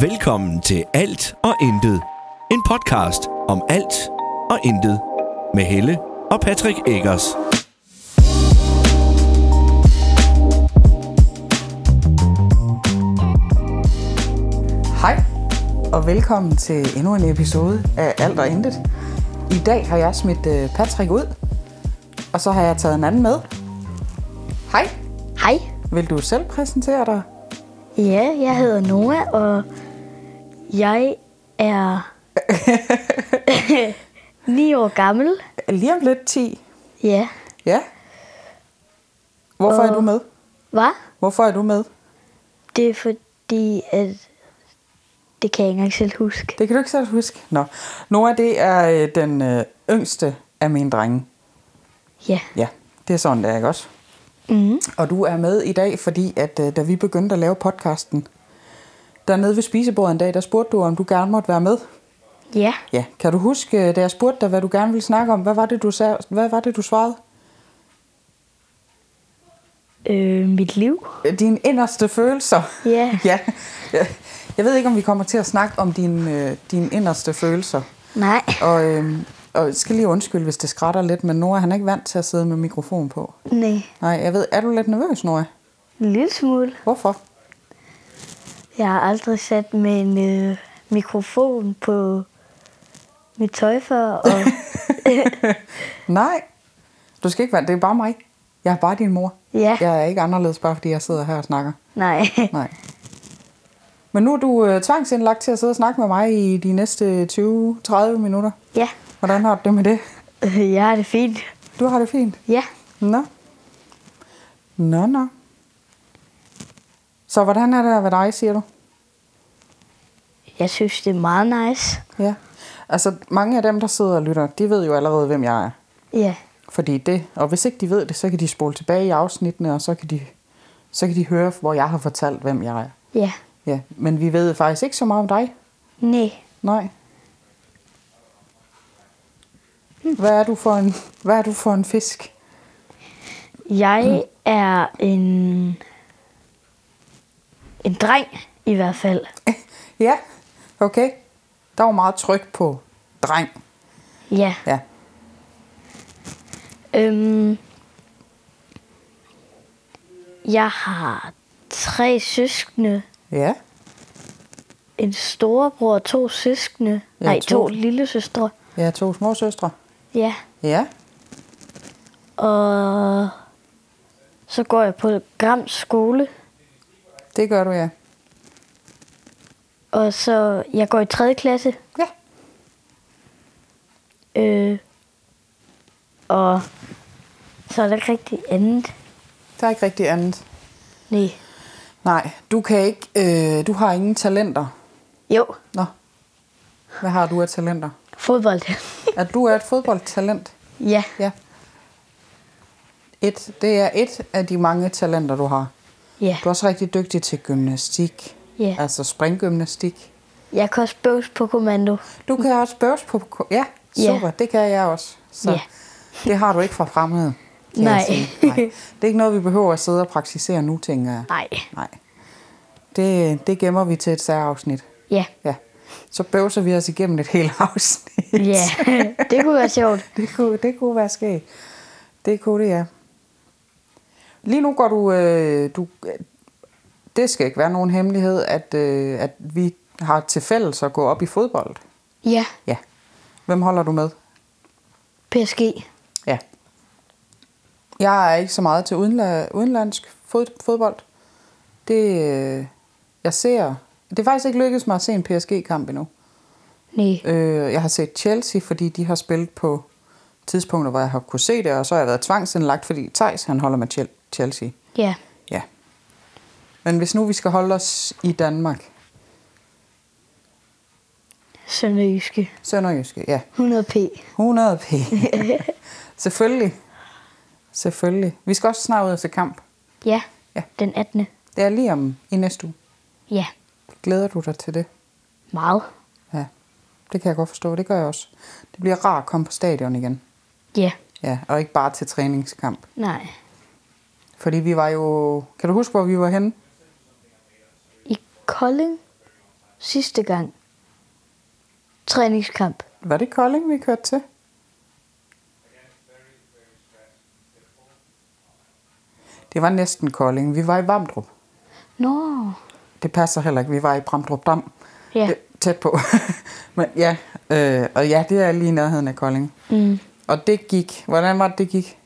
Velkommen til Alt og Intet. En podcast om alt og intet. Med Helle og Patrick Eggers. Hej, og velkommen til endnu en episode af Alt og Intet. I dag har jeg smidt øh, Patrick ud, og så har jeg taget en anden med. Hej, Hej, vil du selv præsentere dig? ja, jeg hedder Noah, og jeg er 9 år gammel. Lige om lidt 10. Ja, Ja. Hvorfor er Og- du med? hvad? Hvorfor er du med? Det er fordi, at det kan jeg ikke engang selv huske. Det kan du ikke selv huske. Nå, Nora, det er øh, den øh, yngste af mine drenge. Ja, Ja, det er sådan, det er, ikke også? mm. Og du er med i dag, fordi at øh, da vi begyndte at lave podcasten, dernede ved spisebordet en dag, der spurgte du, om du gerne måtte være med. ja. Ja, kan du huske, øh, da jeg spurgte dig, hvad du gerne ville snakke om, hvad var det, du, sagde, hvad var det, du svarede? Øh, mit liv. Øh, Dine inderste følelser. Ja. ja. Ja. Jeg ved ikke, om vi kommer til at snakke om dine, øh, dine inderste følelser. Nej, Og, øh, og jeg skal lige undskylde, hvis det skrætter lidt, men Nora, han er ikke vant til at sidde med mikrofon på. nej. Nej, jeg ved, er du lidt nervøs, Nora? En lille smule. Hvorfor? Jeg har aldrig sat med en øh, mikrofon på mit tøj før, og Nej, du skal ikke være, det er bare mig. Jeg er bare din mor. ja, Jeg er ikke anderledes, bare fordi jeg sidder her og snakker. nej. Nej. Men nu er du øh, tvangsindlagt til at sidde og snakke med mig i de næste 20-30 minutter. Ja, Hvordan har du det med det? øh, jeg har det fint. Du har det fint? Ja, Nå. Nå, nå. Så hvordan er det ved dig, siger du? jeg synes, det er meget nice. Ja. Altså, mange af dem, der sidder og lytter, de ved jo allerede, hvem jeg er. Ja, Fordi det, og hvis ikke de ved det, så kan de spole tilbage i afsnittene, og så kan de, så kan de høre, hvor jeg har fortalt, hvem jeg er. ja, Ja, men vi ved faktisk ikke så meget om dig. nej. Nej. Hvad er du for en, hvad er du for en fisk? Jeg er en... En dreng, i hvert fald. Ja, okay. Der var meget tryk på dreng. Ja. Ja. Øhm, jeg har tre søskende. Ja. En storebror og to søskende. Ja, Nej, to, to. to lille søstre. Ja, to små søstre. Ja. Ja. Og så går jeg på Grams skole. Det gør du, ja. Og så, jeg går i 3. klasse. Ja. Øh, og så er der ikke rigtig andet. Der er ikke rigtig andet. Nej. Nej, du kan ikke, øh, du har ingen talenter. Jo, Nå. Hvad har du af talenter? fodbold. At du er et fodboldtalent. ja, Ja. Et, det er et af de mange talenter, du har. ja. Du er også rigtig dygtig til gymnastik. Ja. Altså springgymnastik. Jeg kan også bøvs på kommando. Du kan også børs på... Ja, Ja. super. Det kan jeg også. Så Ja. det har du ikke fra fremmede. kan jeg Nej. sige. Nej. Det er ikke noget, vi behøver at sidde og praktisere nu, tænker jeg. Nej. Nej. Det, det gemmer vi til et særafsnit. Ja, Ja. Så bøvser vi os igennem et helt afsnit. ja. det kunne være sjovt. Det kunne, det kunne være sket. Det kunne det, ja. Lige nu går du... Øh, du det skal ikke være nogen hemmelighed, at, øh, at vi har til fælles at gå op i fodbold. Ja, Ja. Hvem holder du med? PSG. Ja. Jeg er ikke så meget til udenla- udenlandsk fod- fodbold. Det, øh, jeg ser... Det er faktisk ikke lykkedes mig at se en PSG-kamp endnu. Nej. Øh, jeg har set Chelsea, fordi de har spillet på tidspunkter, hvor jeg har kunne se det, og så har jeg været tvangsindlagt, fordi Thijs, han holder med Chel- Chelsea. Ja. Ja. Men hvis nu vi skal holde os i Danmark, Sønderjyske. Sønderjyske, ja. 100 p. 100 p. Selvfølgelig. Selvfølgelig. Vi skal også snart ud og se kamp. Ja. Ja. Den 18. Det er lige om i næste uge. Ja. Glæder du dig til det? Meget. Ja. Det kan jeg godt forstå. Det gør jeg også. Det bliver rart at komme på stadion igen. Ja. Ja, og ikke bare til træningskamp. Nej. Fordi vi var jo... Kan du huske, hvor vi var henne? Kolding sidste gang. Træningskamp. Var det Kolding, vi kørte til? Det var næsten Kolding. Vi var i Vamdrup. Nå, Det passer heller ikke. Vi var i Bramdrup Dam. Ja. Det- Tæt på. Men ja, øh, og ja, det er lige i nærheden af Kolding. Mm. Og det gik. Hvordan var det, det gik?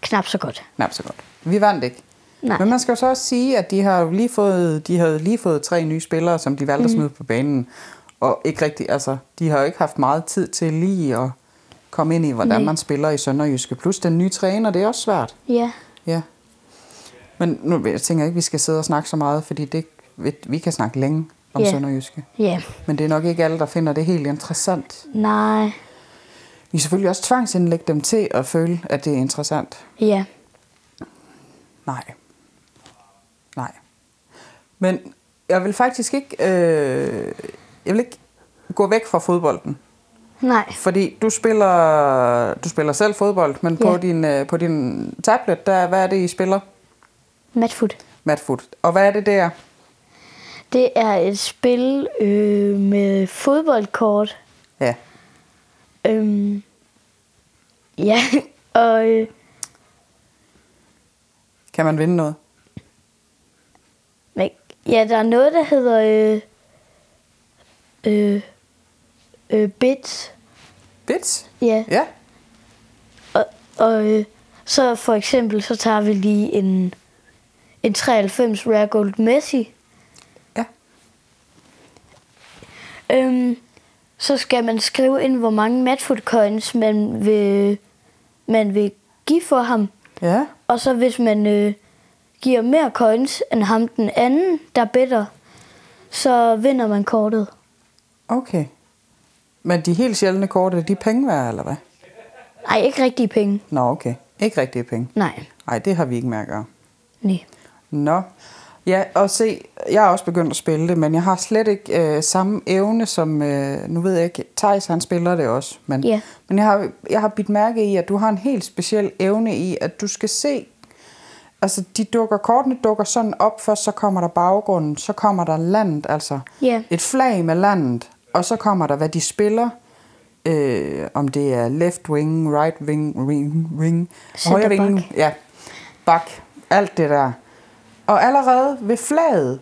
knap så godt. Knap så godt. Vi vandt ikke. Nej. Men man skal jo så også sige, at de har jo lige fået, de havde lige fået tre nye spillere, som de valgte mm. at smide på banen. Og ikke rigtig, altså, de har jo ikke haft meget tid til lige at komme ind i, hvordan Nej. man spiller i Sønderjyske. Plus den nye træner, det er også svært. Ja, Ja. Men nu jeg tænker jeg ikke, at vi skal sidde og snakke så meget, fordi det, vi- vi kan snakke længe om Ja. Sønderjyske. ja. Men det er nok ikke alle, der finder det helt interessant. Nej, Vi kan selvfølgelig også tvangsindlægge dem til at føle, at det er interessant. ja. Nej. Nej. Men jeg vil faktisk ikke, øh, jeg vil ikke gå væk fra fodbolden. Nej, Fordi du spiller, du spiller selv fodbold, men ja. på, Ja. din, øh, på din tablet, der, hvad er det, I spiller? Matfoot. Matfoot. Og hvad er det der? Det er et spil øh, med fodboldkort. Ja. Øhm, ja, og øh, Kan man vinde noget? men, ja, der er noget, der hedder øh, øh, øh, bits. Bits? Ja, Ja. og, og øh, så for eksempel, så tager vi lige en, en 93 Rare Gold Messi. Ja. Øhm, så skal man skrive ind, hvor mange Madfoot coins man vil, man vil give for ham. Ja. Og så hvis man øh, giver mere coins end ham den anden, der bedre, så vinder man kortet. Okay. Men de helt sjældne kort, er de penge værd, eller hvad? Nej, ikke rigtige penge. Nå, okay. Ikke rigtige penge. Nej, Nej, det har vi ikke med at gøre. nej. Nå. Ja, og se, jeg er også begyndt at spille det, men jeg har slet ikke øh, samme evne som, øh, nu ved jeg ikke, Thijs han spiller det også, men, Ja. men jeg, har, jeg har bidt mærke i, at du har en helt speciel evne i, at du skal se, altså de dukker, kortene dukker sådan op, først så kommer der baggrunden, så kommer der landet, altså Ja. et flag med landet, og så kommer der, hvad de spiller, øh, om det er left wing, right wing, wing, wing, Center højre back. wing, Ja, bak, alt det der. Og allerede ved flaget,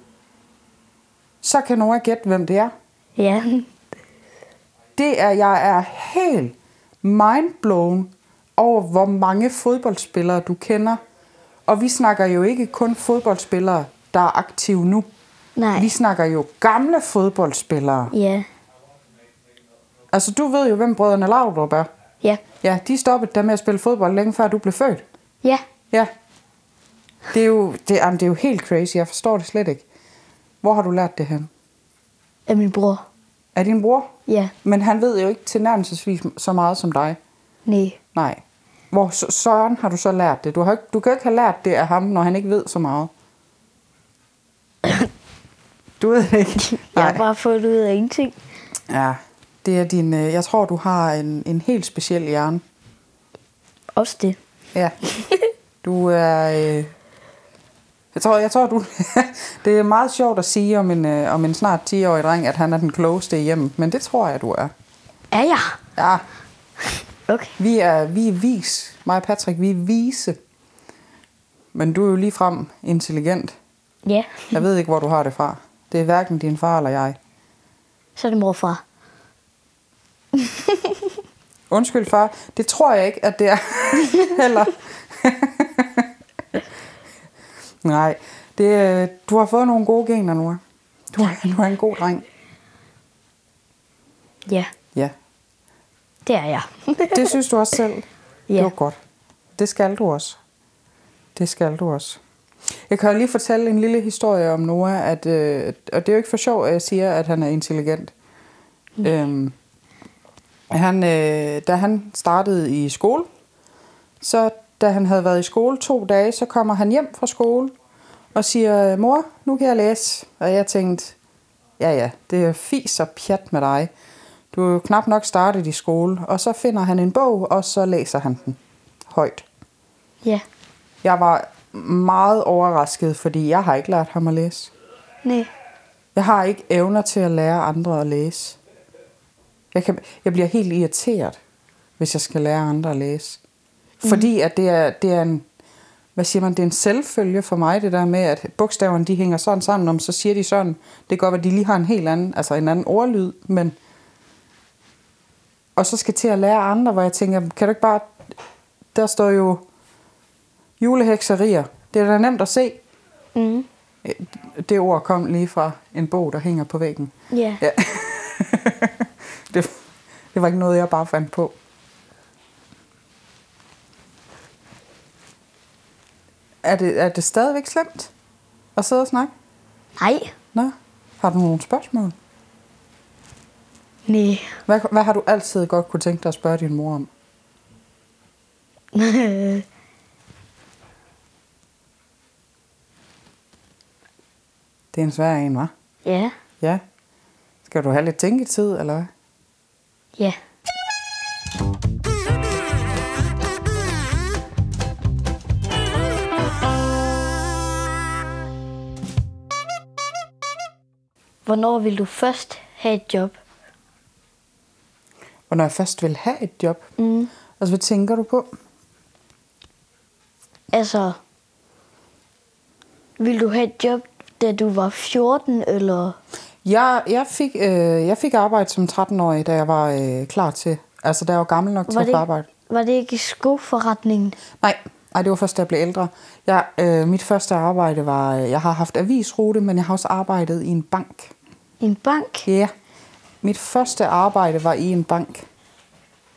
så kan Nora gætte, hvem det er. Ja, Det er, jeg er helt mindblown over, hvor mange fodboldspillere du kender. Og vi snakker jo ikke kun fodboldspillere, der er aktive nu. nej. Vi snakker jo gamle fodboldspillere. Ja, Altså, du ved jo, hvem brødrene Laudrup er. ja, Ja, de stoppede der med at spille fodbold længe før du blev født. ja. Ja. Det er jo, det, jamen, det er jo helt crazy. Jeg forstår det slet ikke. Hvor har du lært det hen? Af min bror. Er din bror? Ja, Men han ved jo ikke tilnærmelsesvis så meget som dig. nej. Nej. Hvor s- søren har du så lært det? Du, har ikke, du kan jo ikke have lært det af ham, når han ikke ved så meget. Du ved det ikke. Jeg har bare fået det ud af ingenting. Ja. Det er din, øh, jeg tror, du har en, en helt speciel hjerne. Også det. Ja. Du er... Øh, jeg tror, jeg tror du... det er meget sjovt at sige om en, øh, om en snart 10-årig dreng, at han er den klogeste i hjemmet, men det tror jeg, du er. Er jeg? Ja, Okay. vi er, vi er vis. Mig og Patrick, vi er vise. Men du er jo ligefrem intelligent. Ja, Jeg ved ikke, hvor du har det fra. Det er hverken din far eller jeg. så er det morfar. Undskyld, far. Det tror jeg ikke, at det er heller. Nej, det, øh, du har fået nogle gode gener, nu. Du, er- du er en god dreng. Ja, Ja, det er jeg. det synes du også selv. Ja. Det var godt. Det skal du også. Det skal du også. Jeg kan jo lige fortælle en lille historie om Noah, at, øh, og det er jo ikke for sjov, at jeg siger, at han er intelligent. Mm. Øhm, han, øh, da han startede i skole, så da han havde været i skole to dage, så kommer han hjem fra skole og siger, mor, nu kan jeg læse. Og jeg tænkte, ja ja, det er fis og pjat med dig. Du er jo knap nok startet i skole. Og så finder han en bog, og så læser han den højt. Ja, Jeg var meget overrasket, fordi jeg har ikke lært ham at læse. Nej. Jeg har ikke evner til at lære andre at læse. Jeg, kan, jeg bliver helt irriteret, hvis jeg skal lære andre at læse. Fordi at det er, det er en, hvad siger man, det er en selvfølge for mig, det der med, at bogstaverne de hænger sådan sammen, om så siger de sådan. Det kan godt være, at de lige har en helt anden, altså en anden ordlyd, men... Og så skal jeg til at lære andre, hvor jeg tænker, kan du ikke bare... Der står jo julehekserier. Det er da nemt at se. Mm. Øh, Det ord kom lige fra en bog, der hænger på væggen. Ja. Ja. det, det var ikke noget, jeg bare fandt på. Er det, er det stadigvæk slemt at sidde og snakke? Nej. Nå, har du nogle spørgsmål? Nej. Hvad, hvad har du altid godt kunne tænke dig at spørge din mor om? Det er en svær en, hva'? ja. Ja. Skal du have lidt tænketid, eller hvad? Ja. Hvornår vil du først have et job? Og når jeg først vil have et job, Mm. altså hvad tænker du på? Altså, vil du have et job, da du var 14, eller... Jeg, jeg, fik, øh, jeg fik arbejde som 13-årig, da jeg var øh, klar til. Altså, da jeg var gammel nok til Var at det, få arbejde. var det ikke i skoforretningen? Nej, nej, det var først, da jeg blev ældre. Jeg, øh, mit første arbejde var... øh, Jeg har haft avisrute, men jeg har også arbejdet i en bank. I en bank? Ja. Yeah. Mit første arbejde var i en bank.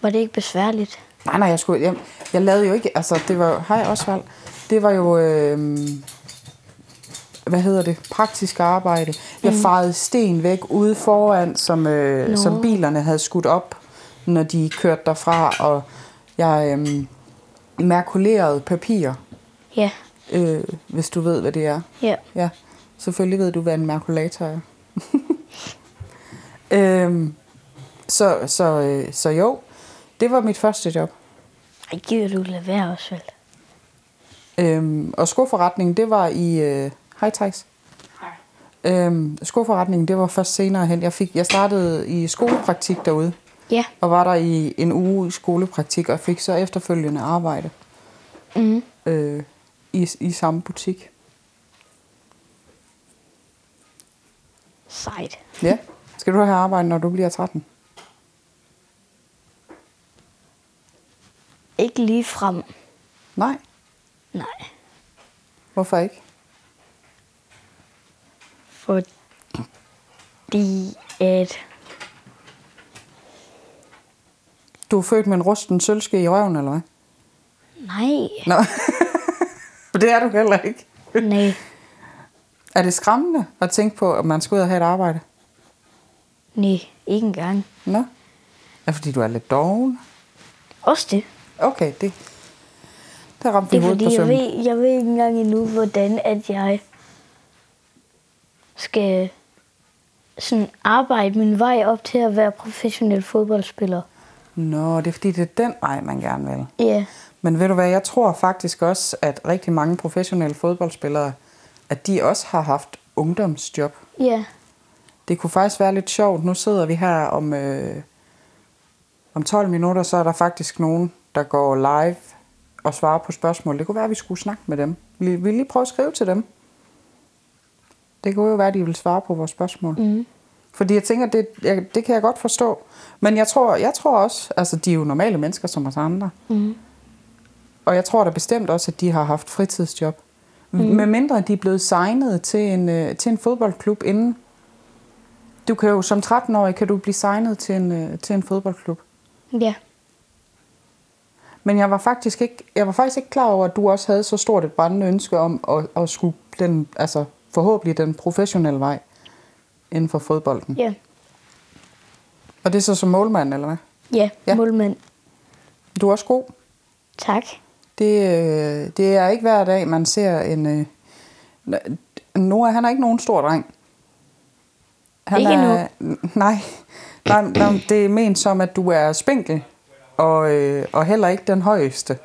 Var det ikke besværligt? Nej, nej, jeg skulle hjem. Jeg lavede jo ikke... Altså, det var... Hej, Osvald. Det var jo... Øh, hvad hedder det? Praktisk arbejde. Jeg farede sten væk ude foran, som, øh, Nå. som bilerne havde skudt op, når de kørte derfra. Og jeg øh, merkulerede papir, Ja, øh, hvis du ved, hvad det er. ja. Ja, selvfølgelig ved du, hvad en merkulator er. øhm, så, så, øh, så jo, det var mit første job. Ej, gider du lade være, Osvald? Øhm, og skoforretningen, det var i... Øh, hej, Thijs. Øhm, skoforretningen, det var først senere hen. Jeg, fik, jeg startede i skolepraktik derude, Ja. og var der i en uge i skolepraktik, og fik så efterfølgende arbejde Mm. øh, i, i samme butik. Sejt. Ja. Skal du have arbejde, når du bliver 13? Ikke lige frem. Nej. Nej. Hvorfor ikke? Fordi at... Du er født med en rusten sølvske i røven, eller hvad? Nej. Nå. Men det er du heller ikke. Nej. Er det skræmmende at tænke på, at man skal ud og have et arbejde? Nej. Ikke engang. Nå? Er det, fordi du er lidt doven? Også det. Okay, det... Der ramte Det vi er hovedet fordi, på jeg sømmen. ved, jeg ved ikke engang endnu, hvordan at jeg skal sådan arbejde min vej op til at være professionel fodboldspiller. Nå, det er fordi, det er den vej, man gerne vil. Ja, Men ved du hvad, jeg tror faktisk også, at rigtig mange professionelle fodboldspillere, at de også har haft ungdomsjob. ja, Det kunne faktisk være lidt sjovt. Nu sidder vi her om, øh, om 12 minutter, så er der faktisk nogen, der går live og svarer på spørgsmål. Det kunne være, at vi skulle snakke med dem. Vi vi lige prøve at skrive til dem. Det kunne jo være, at de vil svare på vores spørgsmål. Mm. Fordi jeg tænker, det, jeg, det kan jeg godt forstå. Men jeg tror, jeg tror også, altså de er jo normale mennesker som os andre. Mm. Og jeg tror da bestemt også, at de har haft fritidsjob. Mm. Med mindre de er blevet signet til en, øh, til en fodboldklub inden, du kan jo som 13-årig kan du blive signet til en, øh, til en fodboldklub. ja. Men jeg var faktisk ikke, jeg var faktisk ikke klar over, at du også havde så stort et brændende ønske om at, at skulle den, altså forhåbentlig den professionelle vej inden for fodbolden. Ja, Og det er så som målmand, eller hvad? ja, Ja. ja. målmand. Du er også god. Tak. Det, øh, det er ikke hver dag, man ser en... Øh, n- Noah, han er ikke nogen stor dreng. Ikke er, Nej, nej, nej, det er ment som, at du er spinkel, og, øh, og heller ikke den højeste.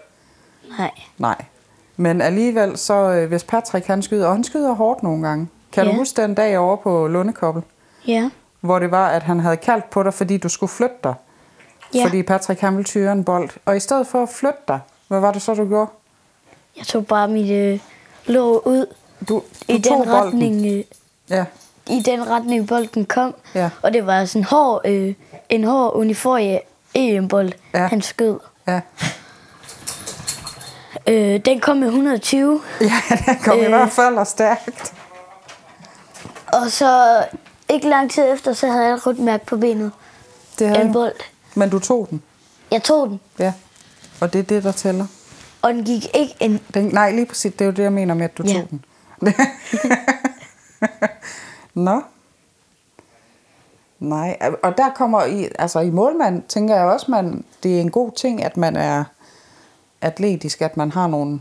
Nej, Nej. Men alligevel, så øh, hvis Patrick han skyder, og han skyder hårdt nogle gange. Kan ja. Ja. du huske den dag over på Lundekobbel, Ja. hvor det var, at han havde kaldt på dig, fordi du skulle flytte dig? Ja. Fordi Patrick han ville tyre en bold. Og i stedet for at flytte dig, hvad var det så, du gjorde? Jeg tog bare mit øh, lår ud Du, i du tog den retning, øh, Ja, i den retning bolden kom. Ja. Og det var sådan hård, øh, en hård uniforie EM-bold, Ja. han skød. ja. Øh, den kom med 120, Ja, den kom øh. i Øh. hvert fald og stærkt. og så ikke lang tid efter, så havde jeg et rødt mærke på benet. Det Ja. havde En du. bold. Men du tog den, Jeg tog den, ja. Og det er det, der tæller. og den gik ikke ind. Den, nej, lige præcis. Det er jo det, jeg mener med, at du Ja. tog den. Nå. Nej, øh, og der kommer i, altså i målmand, tænker jeg også, man, det er en god ting, at man er atletisk, at man har nogle,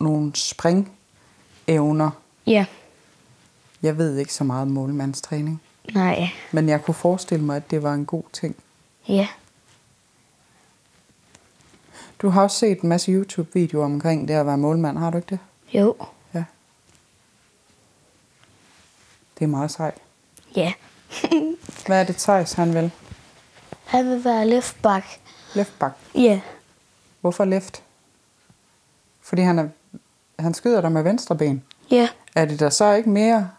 nogle springevner. Ja, Jeg ved ikke så meget om målmandstræning, nej, men jeg kunne forestille mig, at det var en god ting. ja, Du har også set en masse YouTube-videoer omkring det at være målmand, har du ikke det? jo, Ja. Det er meget sejt. ja. Hvad er det, Thijs han vil? Han vil være leftback. Left back. Ja, Hvorfor left? Fordi han, er, han skyder dig med venstre ben. ja, Er det der så ikke mere...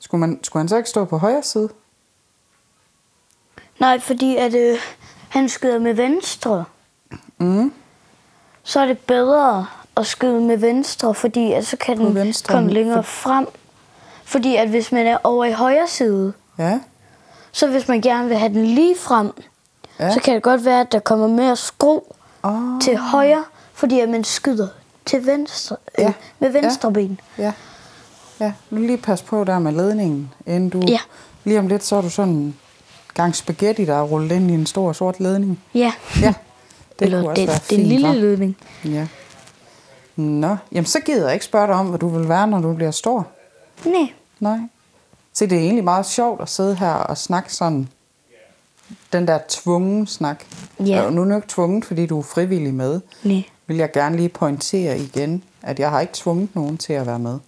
Skulle, man, skulle han så ikke stå på højre side? Nej, fordi at øh, han skyder med venstre. Mm. Så er det bedre at skyde med venstre, fordi at så kan den venstre, komme men- længere frem. Fordi at hvis man er over i højre side, Ja. så hvis man gerne vil have den lige frem, Ja. ja. så kan det godt være, at der kommer mere skru Oh, til højre, fordi at man skyder til venstre, øh, Ja. ja. med venstre ja. ben. ja. Ja, nu lige pas på der med ledningen, inden du... Ja. Lige om lidt, så er du sådan en gang spaghetti, der er rullet ind i en stor sort ledning. Ja, Ja, det eller kunne også den, være den fint, lille hva'? ledning. Ja. Nå, jamen så gider jeg ikke spørge dig om, hvad du vil være, når du bliver stor. Nej, Nej. Se, det er egentlig meget sjovt at sidde her og snakke sådan, den der tvungen snak. Ja. Og nu er du ikke tvunget, fordi du er frivillig med. nej, Vil jeg gerne lige pointere igen, at jeg har ikke tvunget nogen til at være med.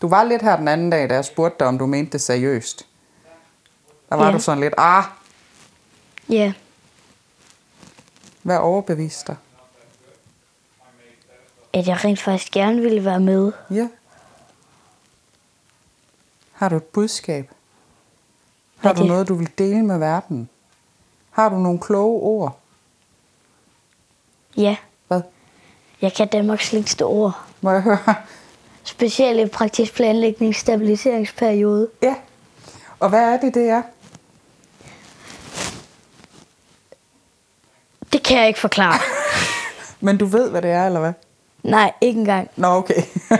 Du var lidt her den anden dag, da jeg spurgte dig, om du mente det seriøst. Der var Ja. du sådan lidt, ah, ja, hvad overbeviste dig? at jeg rent faktisk gerne ville være med. Ja. Har du et budskab? Har Hvad er du det? noget, du vil dele med verden? Har du nogle kloge ord? Ja, Hvad? jeg kan Danmarks længste ord. Må jeg høre? Specielle praktisk planlægning stabiliseringsperiode. Ja. Og hvad er det, det er? Det kan jeg ikke forklare. Men du ved, hvad det er, eller hvad? Nej, ikke engang. Nå, okay.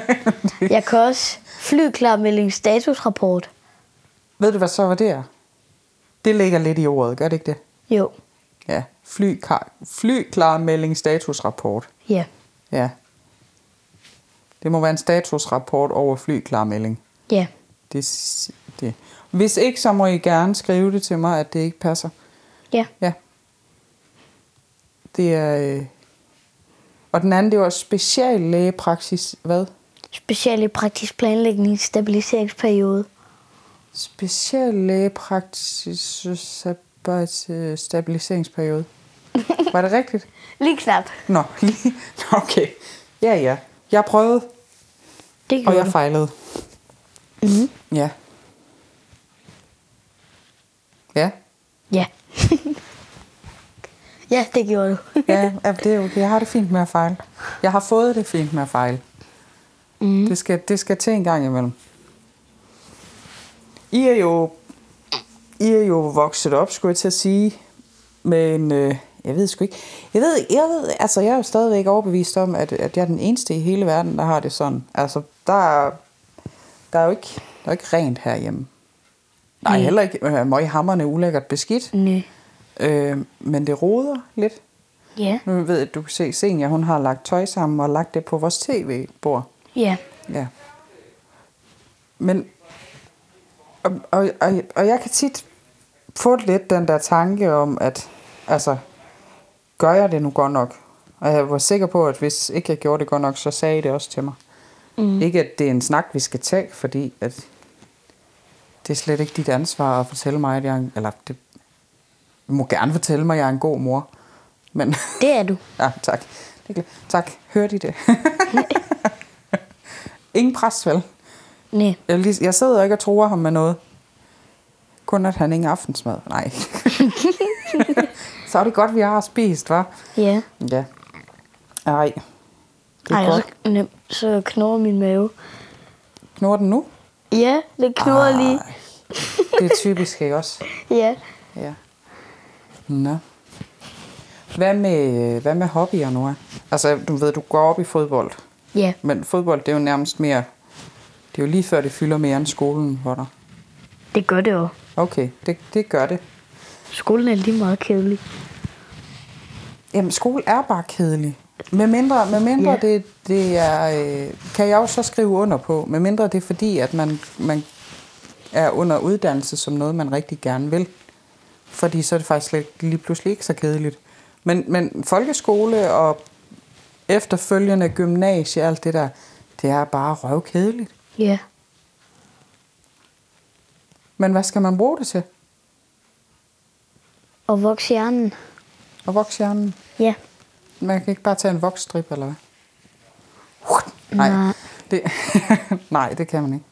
Jeg kan også flyklarmelding statusrapport. ved du, hvad så var det er? Det ligger lidt i ordet, gør det ikke det? Jo, Ja. Flykar- Flyklarmelding statusrapport. ja, Ja. Det må være en statusrapport over flyklarmelding. ja, Det, s- det. Hvis ikke, så må I gerne skrive det til mig, at det ikke passer. ja, Ja. Det er... Øh... Og den anden, det var speciallægepraksis. Hvad? specielle praktisk planlægning stabiliseringsperiode. Speciallægepraksis sabbat- stabiliseringsperiode. Var det rigtigt? Lige knap. Nå, lige... Nå, okay. Ja, ja. Jeg prøvede, Det og gjorde jeg du. fejlede. Mm. Ja. Ja. Ja. ja, det gjorde du. Ja, ja, det er okay. Jeg har det fint med at fejle. Jeg har fået det fint med at fejle. Mm. Det, skal, det skal til en gang imellem. I er jo, I er jo vokset op, skulle jeg til at sige, men øh, jeg ved sgu ikke. Jeg ved, jeg ved, altså jeg er jo stadigvæk overbevist om, at, at jeg er den eneste i hele verden, der har det sådan. Altså, der er, der er jo ikke, der er ikke rent herhjemme. Nej, Nej. heller ikke øh, møghammerne ulækkert beskidt, Nø. øh, men det roder lidt. Ja, Nu ved jeg, at du kan se Senior, hun har lagt tøj sammen og lagt det på vores tv-bord. ja, Ja. Men, og, og, og, og jeg kan tit få lidt den der tanke om, at altså, gør jeg det nu godt nok? Og jeg var sikker på, at hvis ikke jeg gjorde det godt nok, så sagde I det også til mig. Mm. Ikke at det er en snak, vi skal tage, fordi at det er slet ikke dit ansvar at fortælle mig, at jeg er en, Eller det, du må gerne fortælle mig, at jeg er en god mor. Men Det er du. ja, tak. Det er glæ- tak. Hørte I det? Ingen pres, vel? Nej. Jeg, vil lige, jeg sidder ikke og tror ham med noget. Kun at han ingen aftensmad. Nej. så er det godt, vi har spist, var? Ja. Ja. Ej. Det er Ej, godt. så, nem, så knurrer min mave. Knurrer den nu? Ja, det knurrer lige. Det er typisk, ikke også? Ja. Ja. Nå. Hvad med, hvad med hobbyer, Nora? Altså, du ved, du går op i fodbold. Ja. Men fodbold, det er jo nærmest mere... Det er jo lige før, det fylder mere end skolen for dig. Det gør det jo. Okay, det, det gør det. Skolen er lige meget kedelig. Jamen, skole er bare kedelig. Med mindre, med mindre Ja. det, det er, øh, kan jeg jo så skrive under på, med mindre det er fordi, at man, man er under uddannelse som noget, man rigtig gerne vil. Fordi så er det faktisk slet, lige pludselig ikke så kedeligt. Men, men folkeskole og efterfølgende gymnasie og alt det der, det er bare røvkedeligt. Ja. Men hvad skal man bruge det til? Og vokse hjernen. Og vokshjernen? Ja. Man kan ikke bare tage en voksstrip, eller hvad? Nej. Nej. Det, nej, det kan man ikke.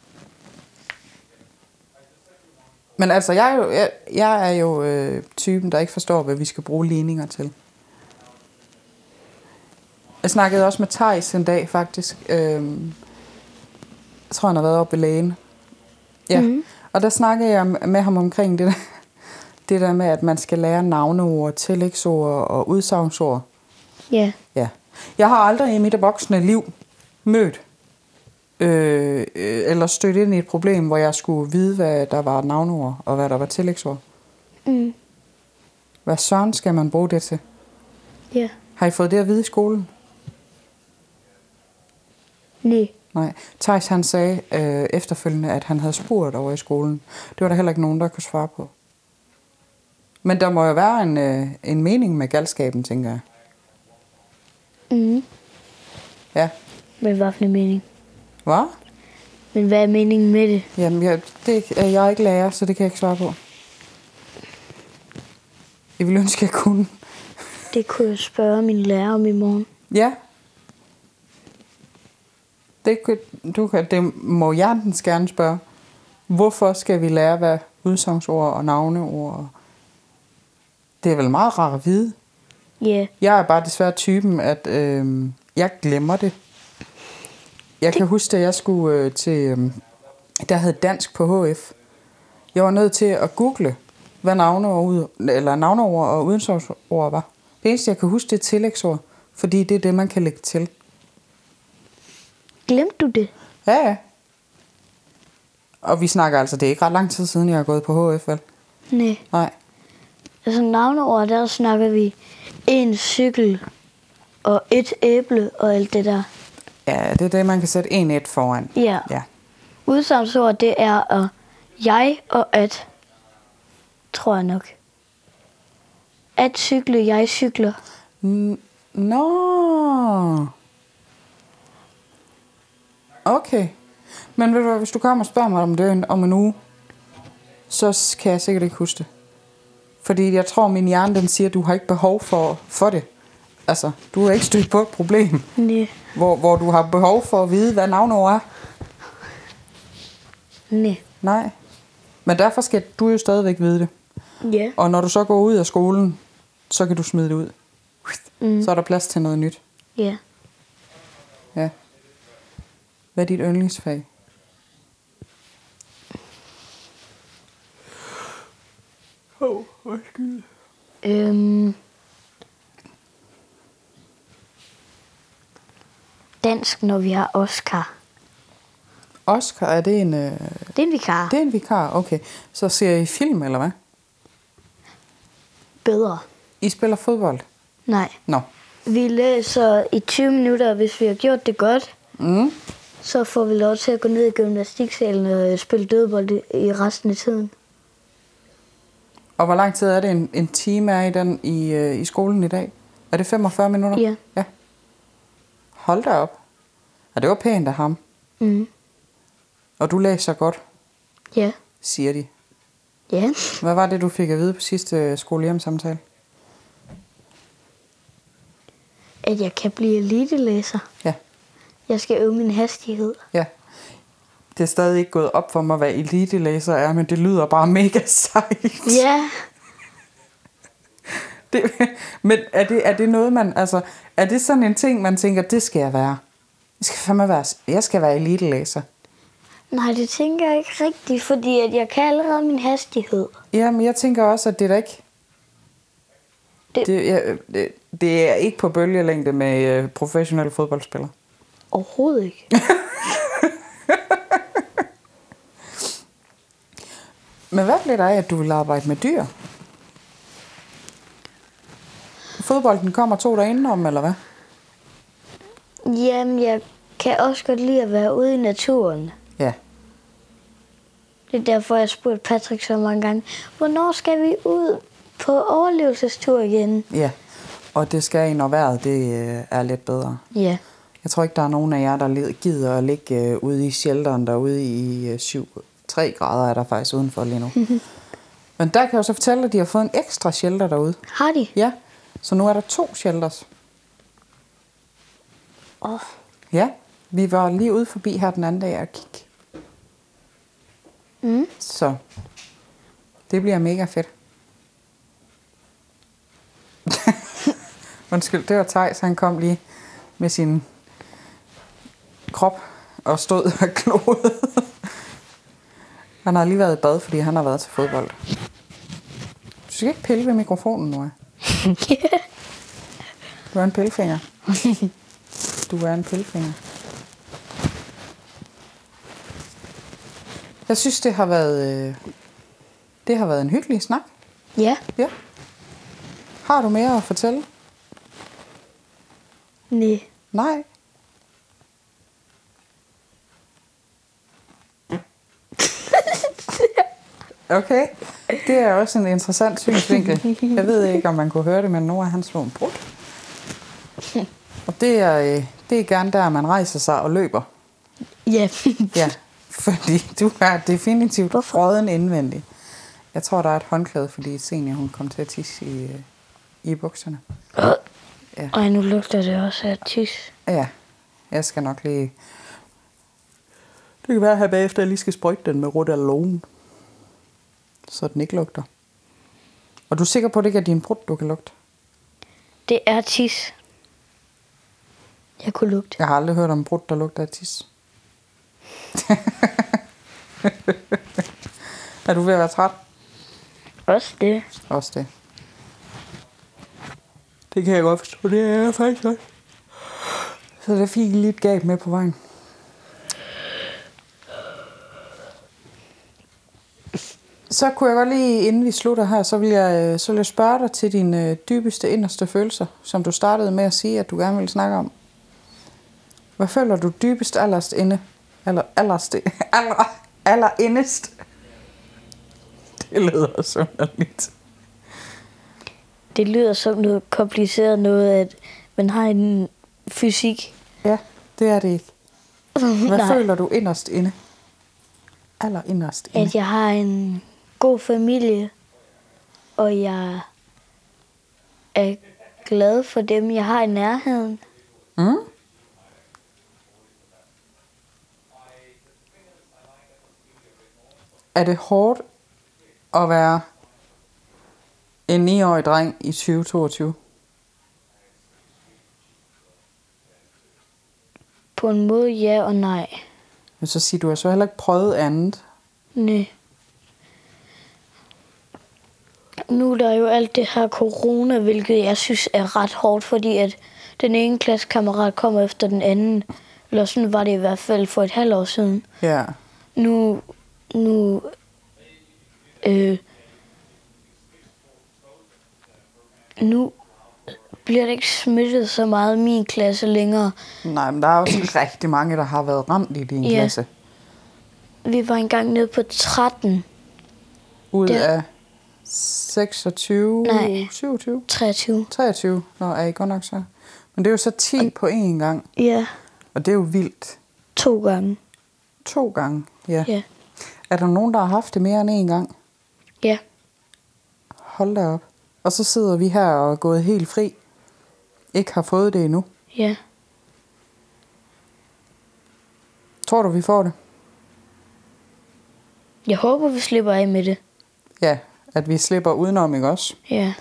Men altså, jeg er jo, jeg, jeg er jo øh, typen, der ikke forstår, hvad vi skal bruge ligninger til. Jeg snakkede også med Tejs en dag, faktisk. Øhm, jeg tror, han har været oppe ved lægen. Ja. Mm-hmm. Og der snakkede jeg med ham omkring det der, det der med, at man skal lære navneord, tillægsord og udsagnsord. Ja. Ja. Jeg har aldrig i mit voksne liv mødt øh, øh, eller stødt ind i et problem, hvor jeg skulle vide, hvad der var et navnord og hvad der var tillægsord. Mm. Hvad søren skal man bruge det til? Ja. Har I fået det at vide i skolen? Nej. Nej. Thijs han sagde øh, efterfølgende, at han havde spurgt over i skolen. Det var der heller ikke nogen, der kunne svare på. Men der må jo være en, øh, en mening med galskaben, tænker jeg. Mm. Ja. Men hvad for en mening? Hvad? Men hvad er meningen med det? Jamen, jeg, det, øh, jeg er ikke lærer, så det kan jeg ikke svare på. Jeg ville ønske, jeg kunne. Det kunne jeg spørge min lærer om i morgen. Ja. Det, kunne- du kan, det må hjertens gerne spørge. Hvorfor skal vi lære, hvad udsagnsord og navneord og Det er vel meget rart at vide. Ja. Jeg er bare desværre typen, at øh, jeg glemmer det. Jeg kan huske, at jeg skulle øh, til... Øh, der hed dansk på HF. Jeg var nødt til at google, hvad navneord, ud, eller navneord og udensårsord var. Det eneste, jeg kan huske, det er tillægsord, fordi det er det, man kan lægge til. Glemte du det? Ja, ja. Og vi snakker altså, det er ikke ret lang tid siden, jeg har gået på HF, vel? Nej. Nej. Altså navneord, der snakker vi en cykel og et æble og alt det der. Ja, det er det, man kan sætte en et foran. Ja. ja. Udsagnsord, det er og jeg og at. Tror jeg nok. At cykle, jeg cykler. N- Nå. Okay. Men ved du hvad, hvis du kommer og spørger mig om det en- om en uge, så s- kan jeg sikkert ikke huske det. Fordi jeg tror, min hjerne den siger, at du har ikke behov for, for det. Altså, du har ikke stødt på et problem, Nej. hvor, hvor du har behov for at vide, hvad navnord er. Nej. Nej. Men derfor skal du jo stadigvæk vide det. Ja. Og når du så går ud af skolen, så kan du smide det ud. Mm. Så er der plads til noget nyt. Ja. Ja. Hvad er dit yndlingsfag? Øhm. Dansk, når vi har Oscar. Oscar, er det en, øh, Det er en vikar. det Det. er en vikar? Okay. Så ser I film, eller hvad? Bedre. I spiller fodbold? Nej. Nå. Vi læser i 20 minutter, og hvis vi har gjort det godt, Mm. så får vi lov til at gå ned i gymnastiksalen og øh, spille dødbold i- i resten af tiden. Og hvor lang tid er det, en, en time er i, den, i, øh, i skolen i dag? Er det 45 minutter? Ja. ja. Hold da op. Og det var pænt af ham. Mm. Og du læser godt, Ja. siger de. Ja. Hvad var det, du fik at vide på sidste øh, skolehjemsamtale? At jeg kan blive elitelæser. Ja, Jeg skal øve min hastighed. ja. Det er stadig ikke gået op for mig, hvad elitelæser er, men det lyder bare mega sejt. Ja. Det, men er det, er det noget, man... Altså, er det sådan en ting, man tænker, det skal jeg være? Jeg skal fandme være... Jeg skal være elitelæser. Nej, det tænker jeg ikke rigtigt, fordi at jeg kan allerede min hastighed. Jamen, jeg tænker også, at det er da ikke... Det- Det, jeg, det, det er ikke på bølgelængde med øh, professionelle fodboldspillere. Overhovedet ikke. Men hvad blev der af, at du vil arbejde med dyr? Fodbolden kommer to dage indenom, eller hvad? Jamen, jeg kan også godt lide at være ude i naturen. Ja. Det er derfor, jeg spurgte Patrick så mange gange, hvornår skal vi ud på overlevelsestur igen? Ja. Og det skal I, når vejret det, øh, er lidt bedre. Ja. Jeg tror ikke, der er nogen af jer, der led- gider at ligge øh, ude i shelteren derude i øh, 7, 3 grader er der faktisk udenfor lige nu. Men der kan jeg jo så fortælle, at de har fået en ekstra shelter derude. Har de? Ja, så nu er der to shelters. Åh, oh, Ja, vi var lige ude forbi her den anden dag og kigge. Mm. Så det bliver mega fedt. Undskyld, det var Thijs, han kom lige med sin krop og stod og kloede. han har lige været i bad, fordi han har været til fodbold. Du skal ikke pille ved mikrofonen, nu. Du er en pillefinger. Du er en pillefinger. Jeg synes, det har været, øh, det har været en hyggelig snak. ja. Ja. Har du mere at fortælle? Nej. Nej. Okay, det er også en interessant synsvinkel. Jeg ved ikke, om man kunne høre det, men Nora han slog en brud. Og det er, øh, det er gerne der, man rejser sig og løber. Ja. Ja, fordi du er definitivt Hvorfor? råden indvendig. Jeg tror, der er et håndklæde, fordi senior hun kom til at tisse i, øh, i bukserne. Ja. Og nu lugter det også af tis. Ja, jeg skal nok lige... Det kan være her bagefter, jeg lige skal sprøjte den med rodalone. Så den ikke lugter. Og du er sikker på, at det ikke er din brud, du kan lugte? Det er tis. Jeg kunne lugte. Jeg har aldrig hørt om brud, der lugter af tis. er du ved at være træt? Også det. Også det. Det kan jeg godt forstå. Det er jeg faktisk også. Så der fik I lige et gab med på vejen. Så kunne jeg godt lige, inden vi slutter her, så vil jeg, øh, så vil jeg spørge dig til dine øh, dybeste, inderste følelser, som du startede med at sige, at du gerne ville snakke om. Hvad føler du dybest allerst inde? Aller, allerst, aller, aller indest? Det lyder så underligt. Det lyder som noget kompliceret noget, at man har en fysik. Ja, det er det ikke. Hvad Nej. føler du inderst inde? Aller inderst inde. At jeg har en god familie, og jeg er glad for dem, jeg har i nærheden. Mm? Er det hårdt at være en 9-årig dreng i 2022? På en måde ja og nej. Men så siger du, at så heller ikke prøvet andet. Nej. Nu er der jo alt det her corona, hvilket jeg synes er ret hårdt, fordi at den ene klassekammerat kommer efter den anden. Eller sådan var det i hvert fald for et halvt år siden. Ja. Nu, nu, øh, nu bliver det ikke smittet så meget i min klasse længere. Nej, men der er også rigtig mange, der har været ramt i din Ja. klasse. Vi var engang nede på 13. Ud Ja. af 26, Nej. 27, 23. 23. Nå, er I godt nok så? Men det er jo så 10 på én gang, Ja, og det er jo vildt. to gange. To gange, ja. Ja. Er der nogen, der har haft det mere end én gang? Ja. Hold da op. Og så sidder vi her og er gået helt fri. Ikke har fået det endnu. Ja. Tror du, vi får det? Jeg håber, vi slipper af med det. Ja, at vi slipper udenom, ikke også? Ja.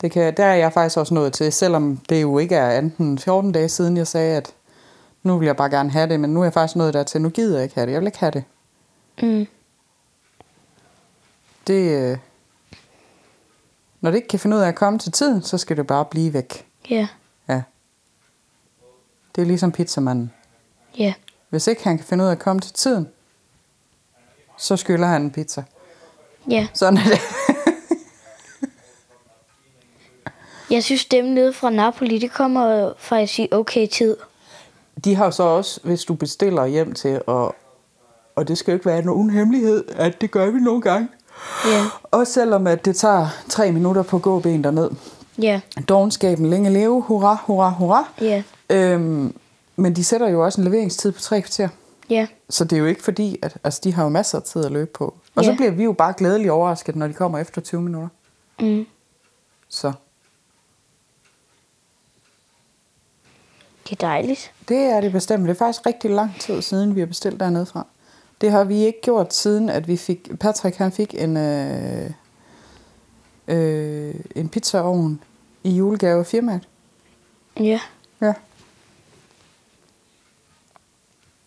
Det kan, der er jeg faktisk også nået til, selvom det jo ikke er enten 14 dage siden, jeg sagde, at nu vil jeg bare gerne have det, men nu er jeg faktisk nået dertil, nu gider jeg ikke have det, jeg vil ikke have det. Mm. det øh, når det ikke kan finde ud af at komme til tiden, så skal det bare blive væk. Ja. Ja. Det er ligesom pizzamanden. Ja. Hvis ikke han kan finde ud af at komme til tiden, så skylder han en pizza. Ja. Sådan er det. Jeg synes, dem nede fra Napoli, det kommer faktisk i okay tid. De har jo så også, hvis du bestiller hjem til, og, og det skal jo ikke være nogen hemmelighed, at det gør vi nogle gange. Ja. Også selvom at det tager tre minutter på gåben derned. Ja. Dogenskaben længe leve, hurra, hurra, hurra. Ja. Øhm, men de sætter jo også en leveringstid på tre kvarter. Ja. Så det er jo ikke fordi, at altså, de har jo masser af tid at løbe på. Og så Ja. bliver vi jo bare glædeligt overrasket, når de kommer efter 20 minutter. Mm. Så Det er dejligt. det er det bestemt. Det er faktisk rigtig lang tid siden, vi har bestilt dernede fra. Det har vi ikke gjort siden, at vi fik... Patrick han fik en, øh, øh, en pizzaovn i julegave af firmaet. Ja. Ja.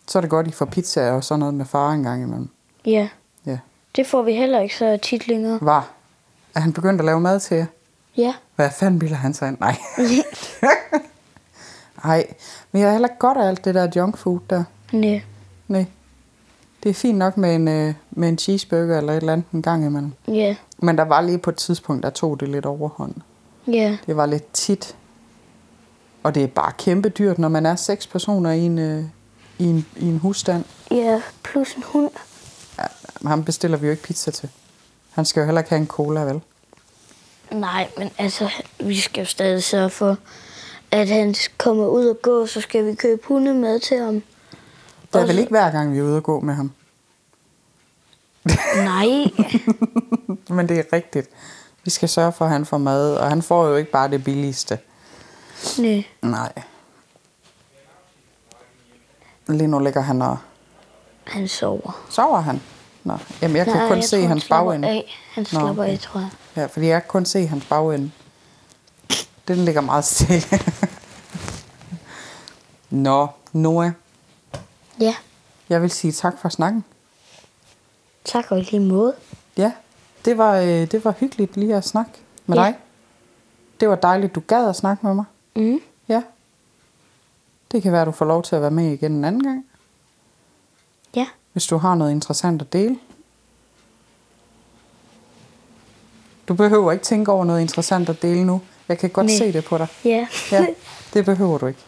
Så er det godt, I får pizza og sådan noget med far en gang imellem. Ja. Ja. Det får vi heller ikke så tit længere. Var. Er han begyndt at lave mad til jer? Ja. Hvad fanden bilder han sig ind? Nej. Nej, men jeg er heller ikke godt af alt det der junk food der. Nej. Nej. Det er fint nok med en, øh, med en cheeseburger eller et eller andet en gang imellem. Ja. Men der var lige på et tidspunkt, der tog det lidt overhånd. Ja. Det var lidt tit. Og det er bare kæmpe dyrt, når man er seks personer i en, øh, i en, i en husstand. Ja. Plus en hund. Ja, ham bestiller vi jo ikke pizza til. Han skal jo heller ikke have en cola, vel? Nej, men altså, vi skal jo stadig sørge for, at han kommer ud og gå, så skal vi købe hundemad til ham. Det er Og vel så- ikke hver gang, vi er ude og gå med ham. Nej. Men det er rigtigt. Vi skal sørge for, at han får mad, og han får jo ikke bare det billigste. Nej. Nej. Lige nu ligger han og... Han sover. Sover han? Nå, jamen jeg kan Nej, kun jeg se tror, han hans slapper bagende. af. Han slapper af, tror jeg. Ja, fordi jeg kan kun se hans bagende. Den ligger meget stille. Nå, Noah, Ja. jeg vil sige tak for snakken. Tak og i lige måde. Ja, det var, øh, det var hyggeligt lige at snakke med Ja. dig. Det var dejligt, du gad at snakke med mig. Mm. Ja. Det kan være, at du får lov til at være med igen en anden gang, Ja. hvis du har noget interessant at dele. Du behøver ikke tænke over noget interessant at dele nu. Jeg kan godt Nej. se det på dig. Ja. Ja, det behøver du ikke.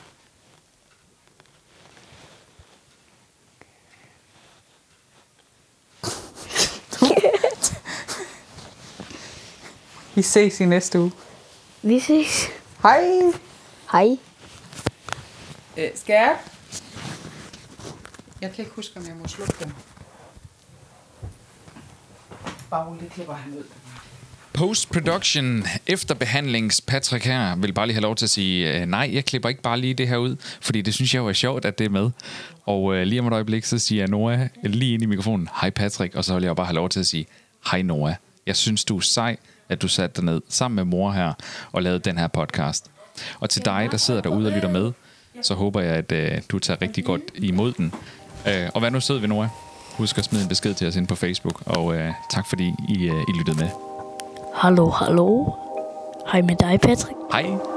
Vi ses i næste uge. vi ses. Hej! Hej. Øh, skal jeg? Jeg kan ikke huske, om jeg må slukke den. Bare lidt klipper han ud. Post-production, efterbehandlings Patrick her, vil bare lige have lov til at sige, øh, nej, jeg klipper ikke bare lige det her ud, fordi det synes jeg jo er sjovt, at det er med. Og øh, lige om et øjeblik, så siger jeg Noah lige ind i mikrofonen, hej Patrick, og så vil jeg jo bare have lov til at sige, hej Noah, jeg synes du er sej, at du satte dig ned sammen med mor her og lavede den her podcast. Og til dig, der sidder derude og lytter med, så håber jeg, at øh, du tager rigtig godt imod den. Øh, og vær nu sød ved Noah. Husk at smide en besked til os ind på Facebook, og øh, tak fordi I, øh, I lyttede med. Hallo, hallo. Hej med dig, Patrick. Hej!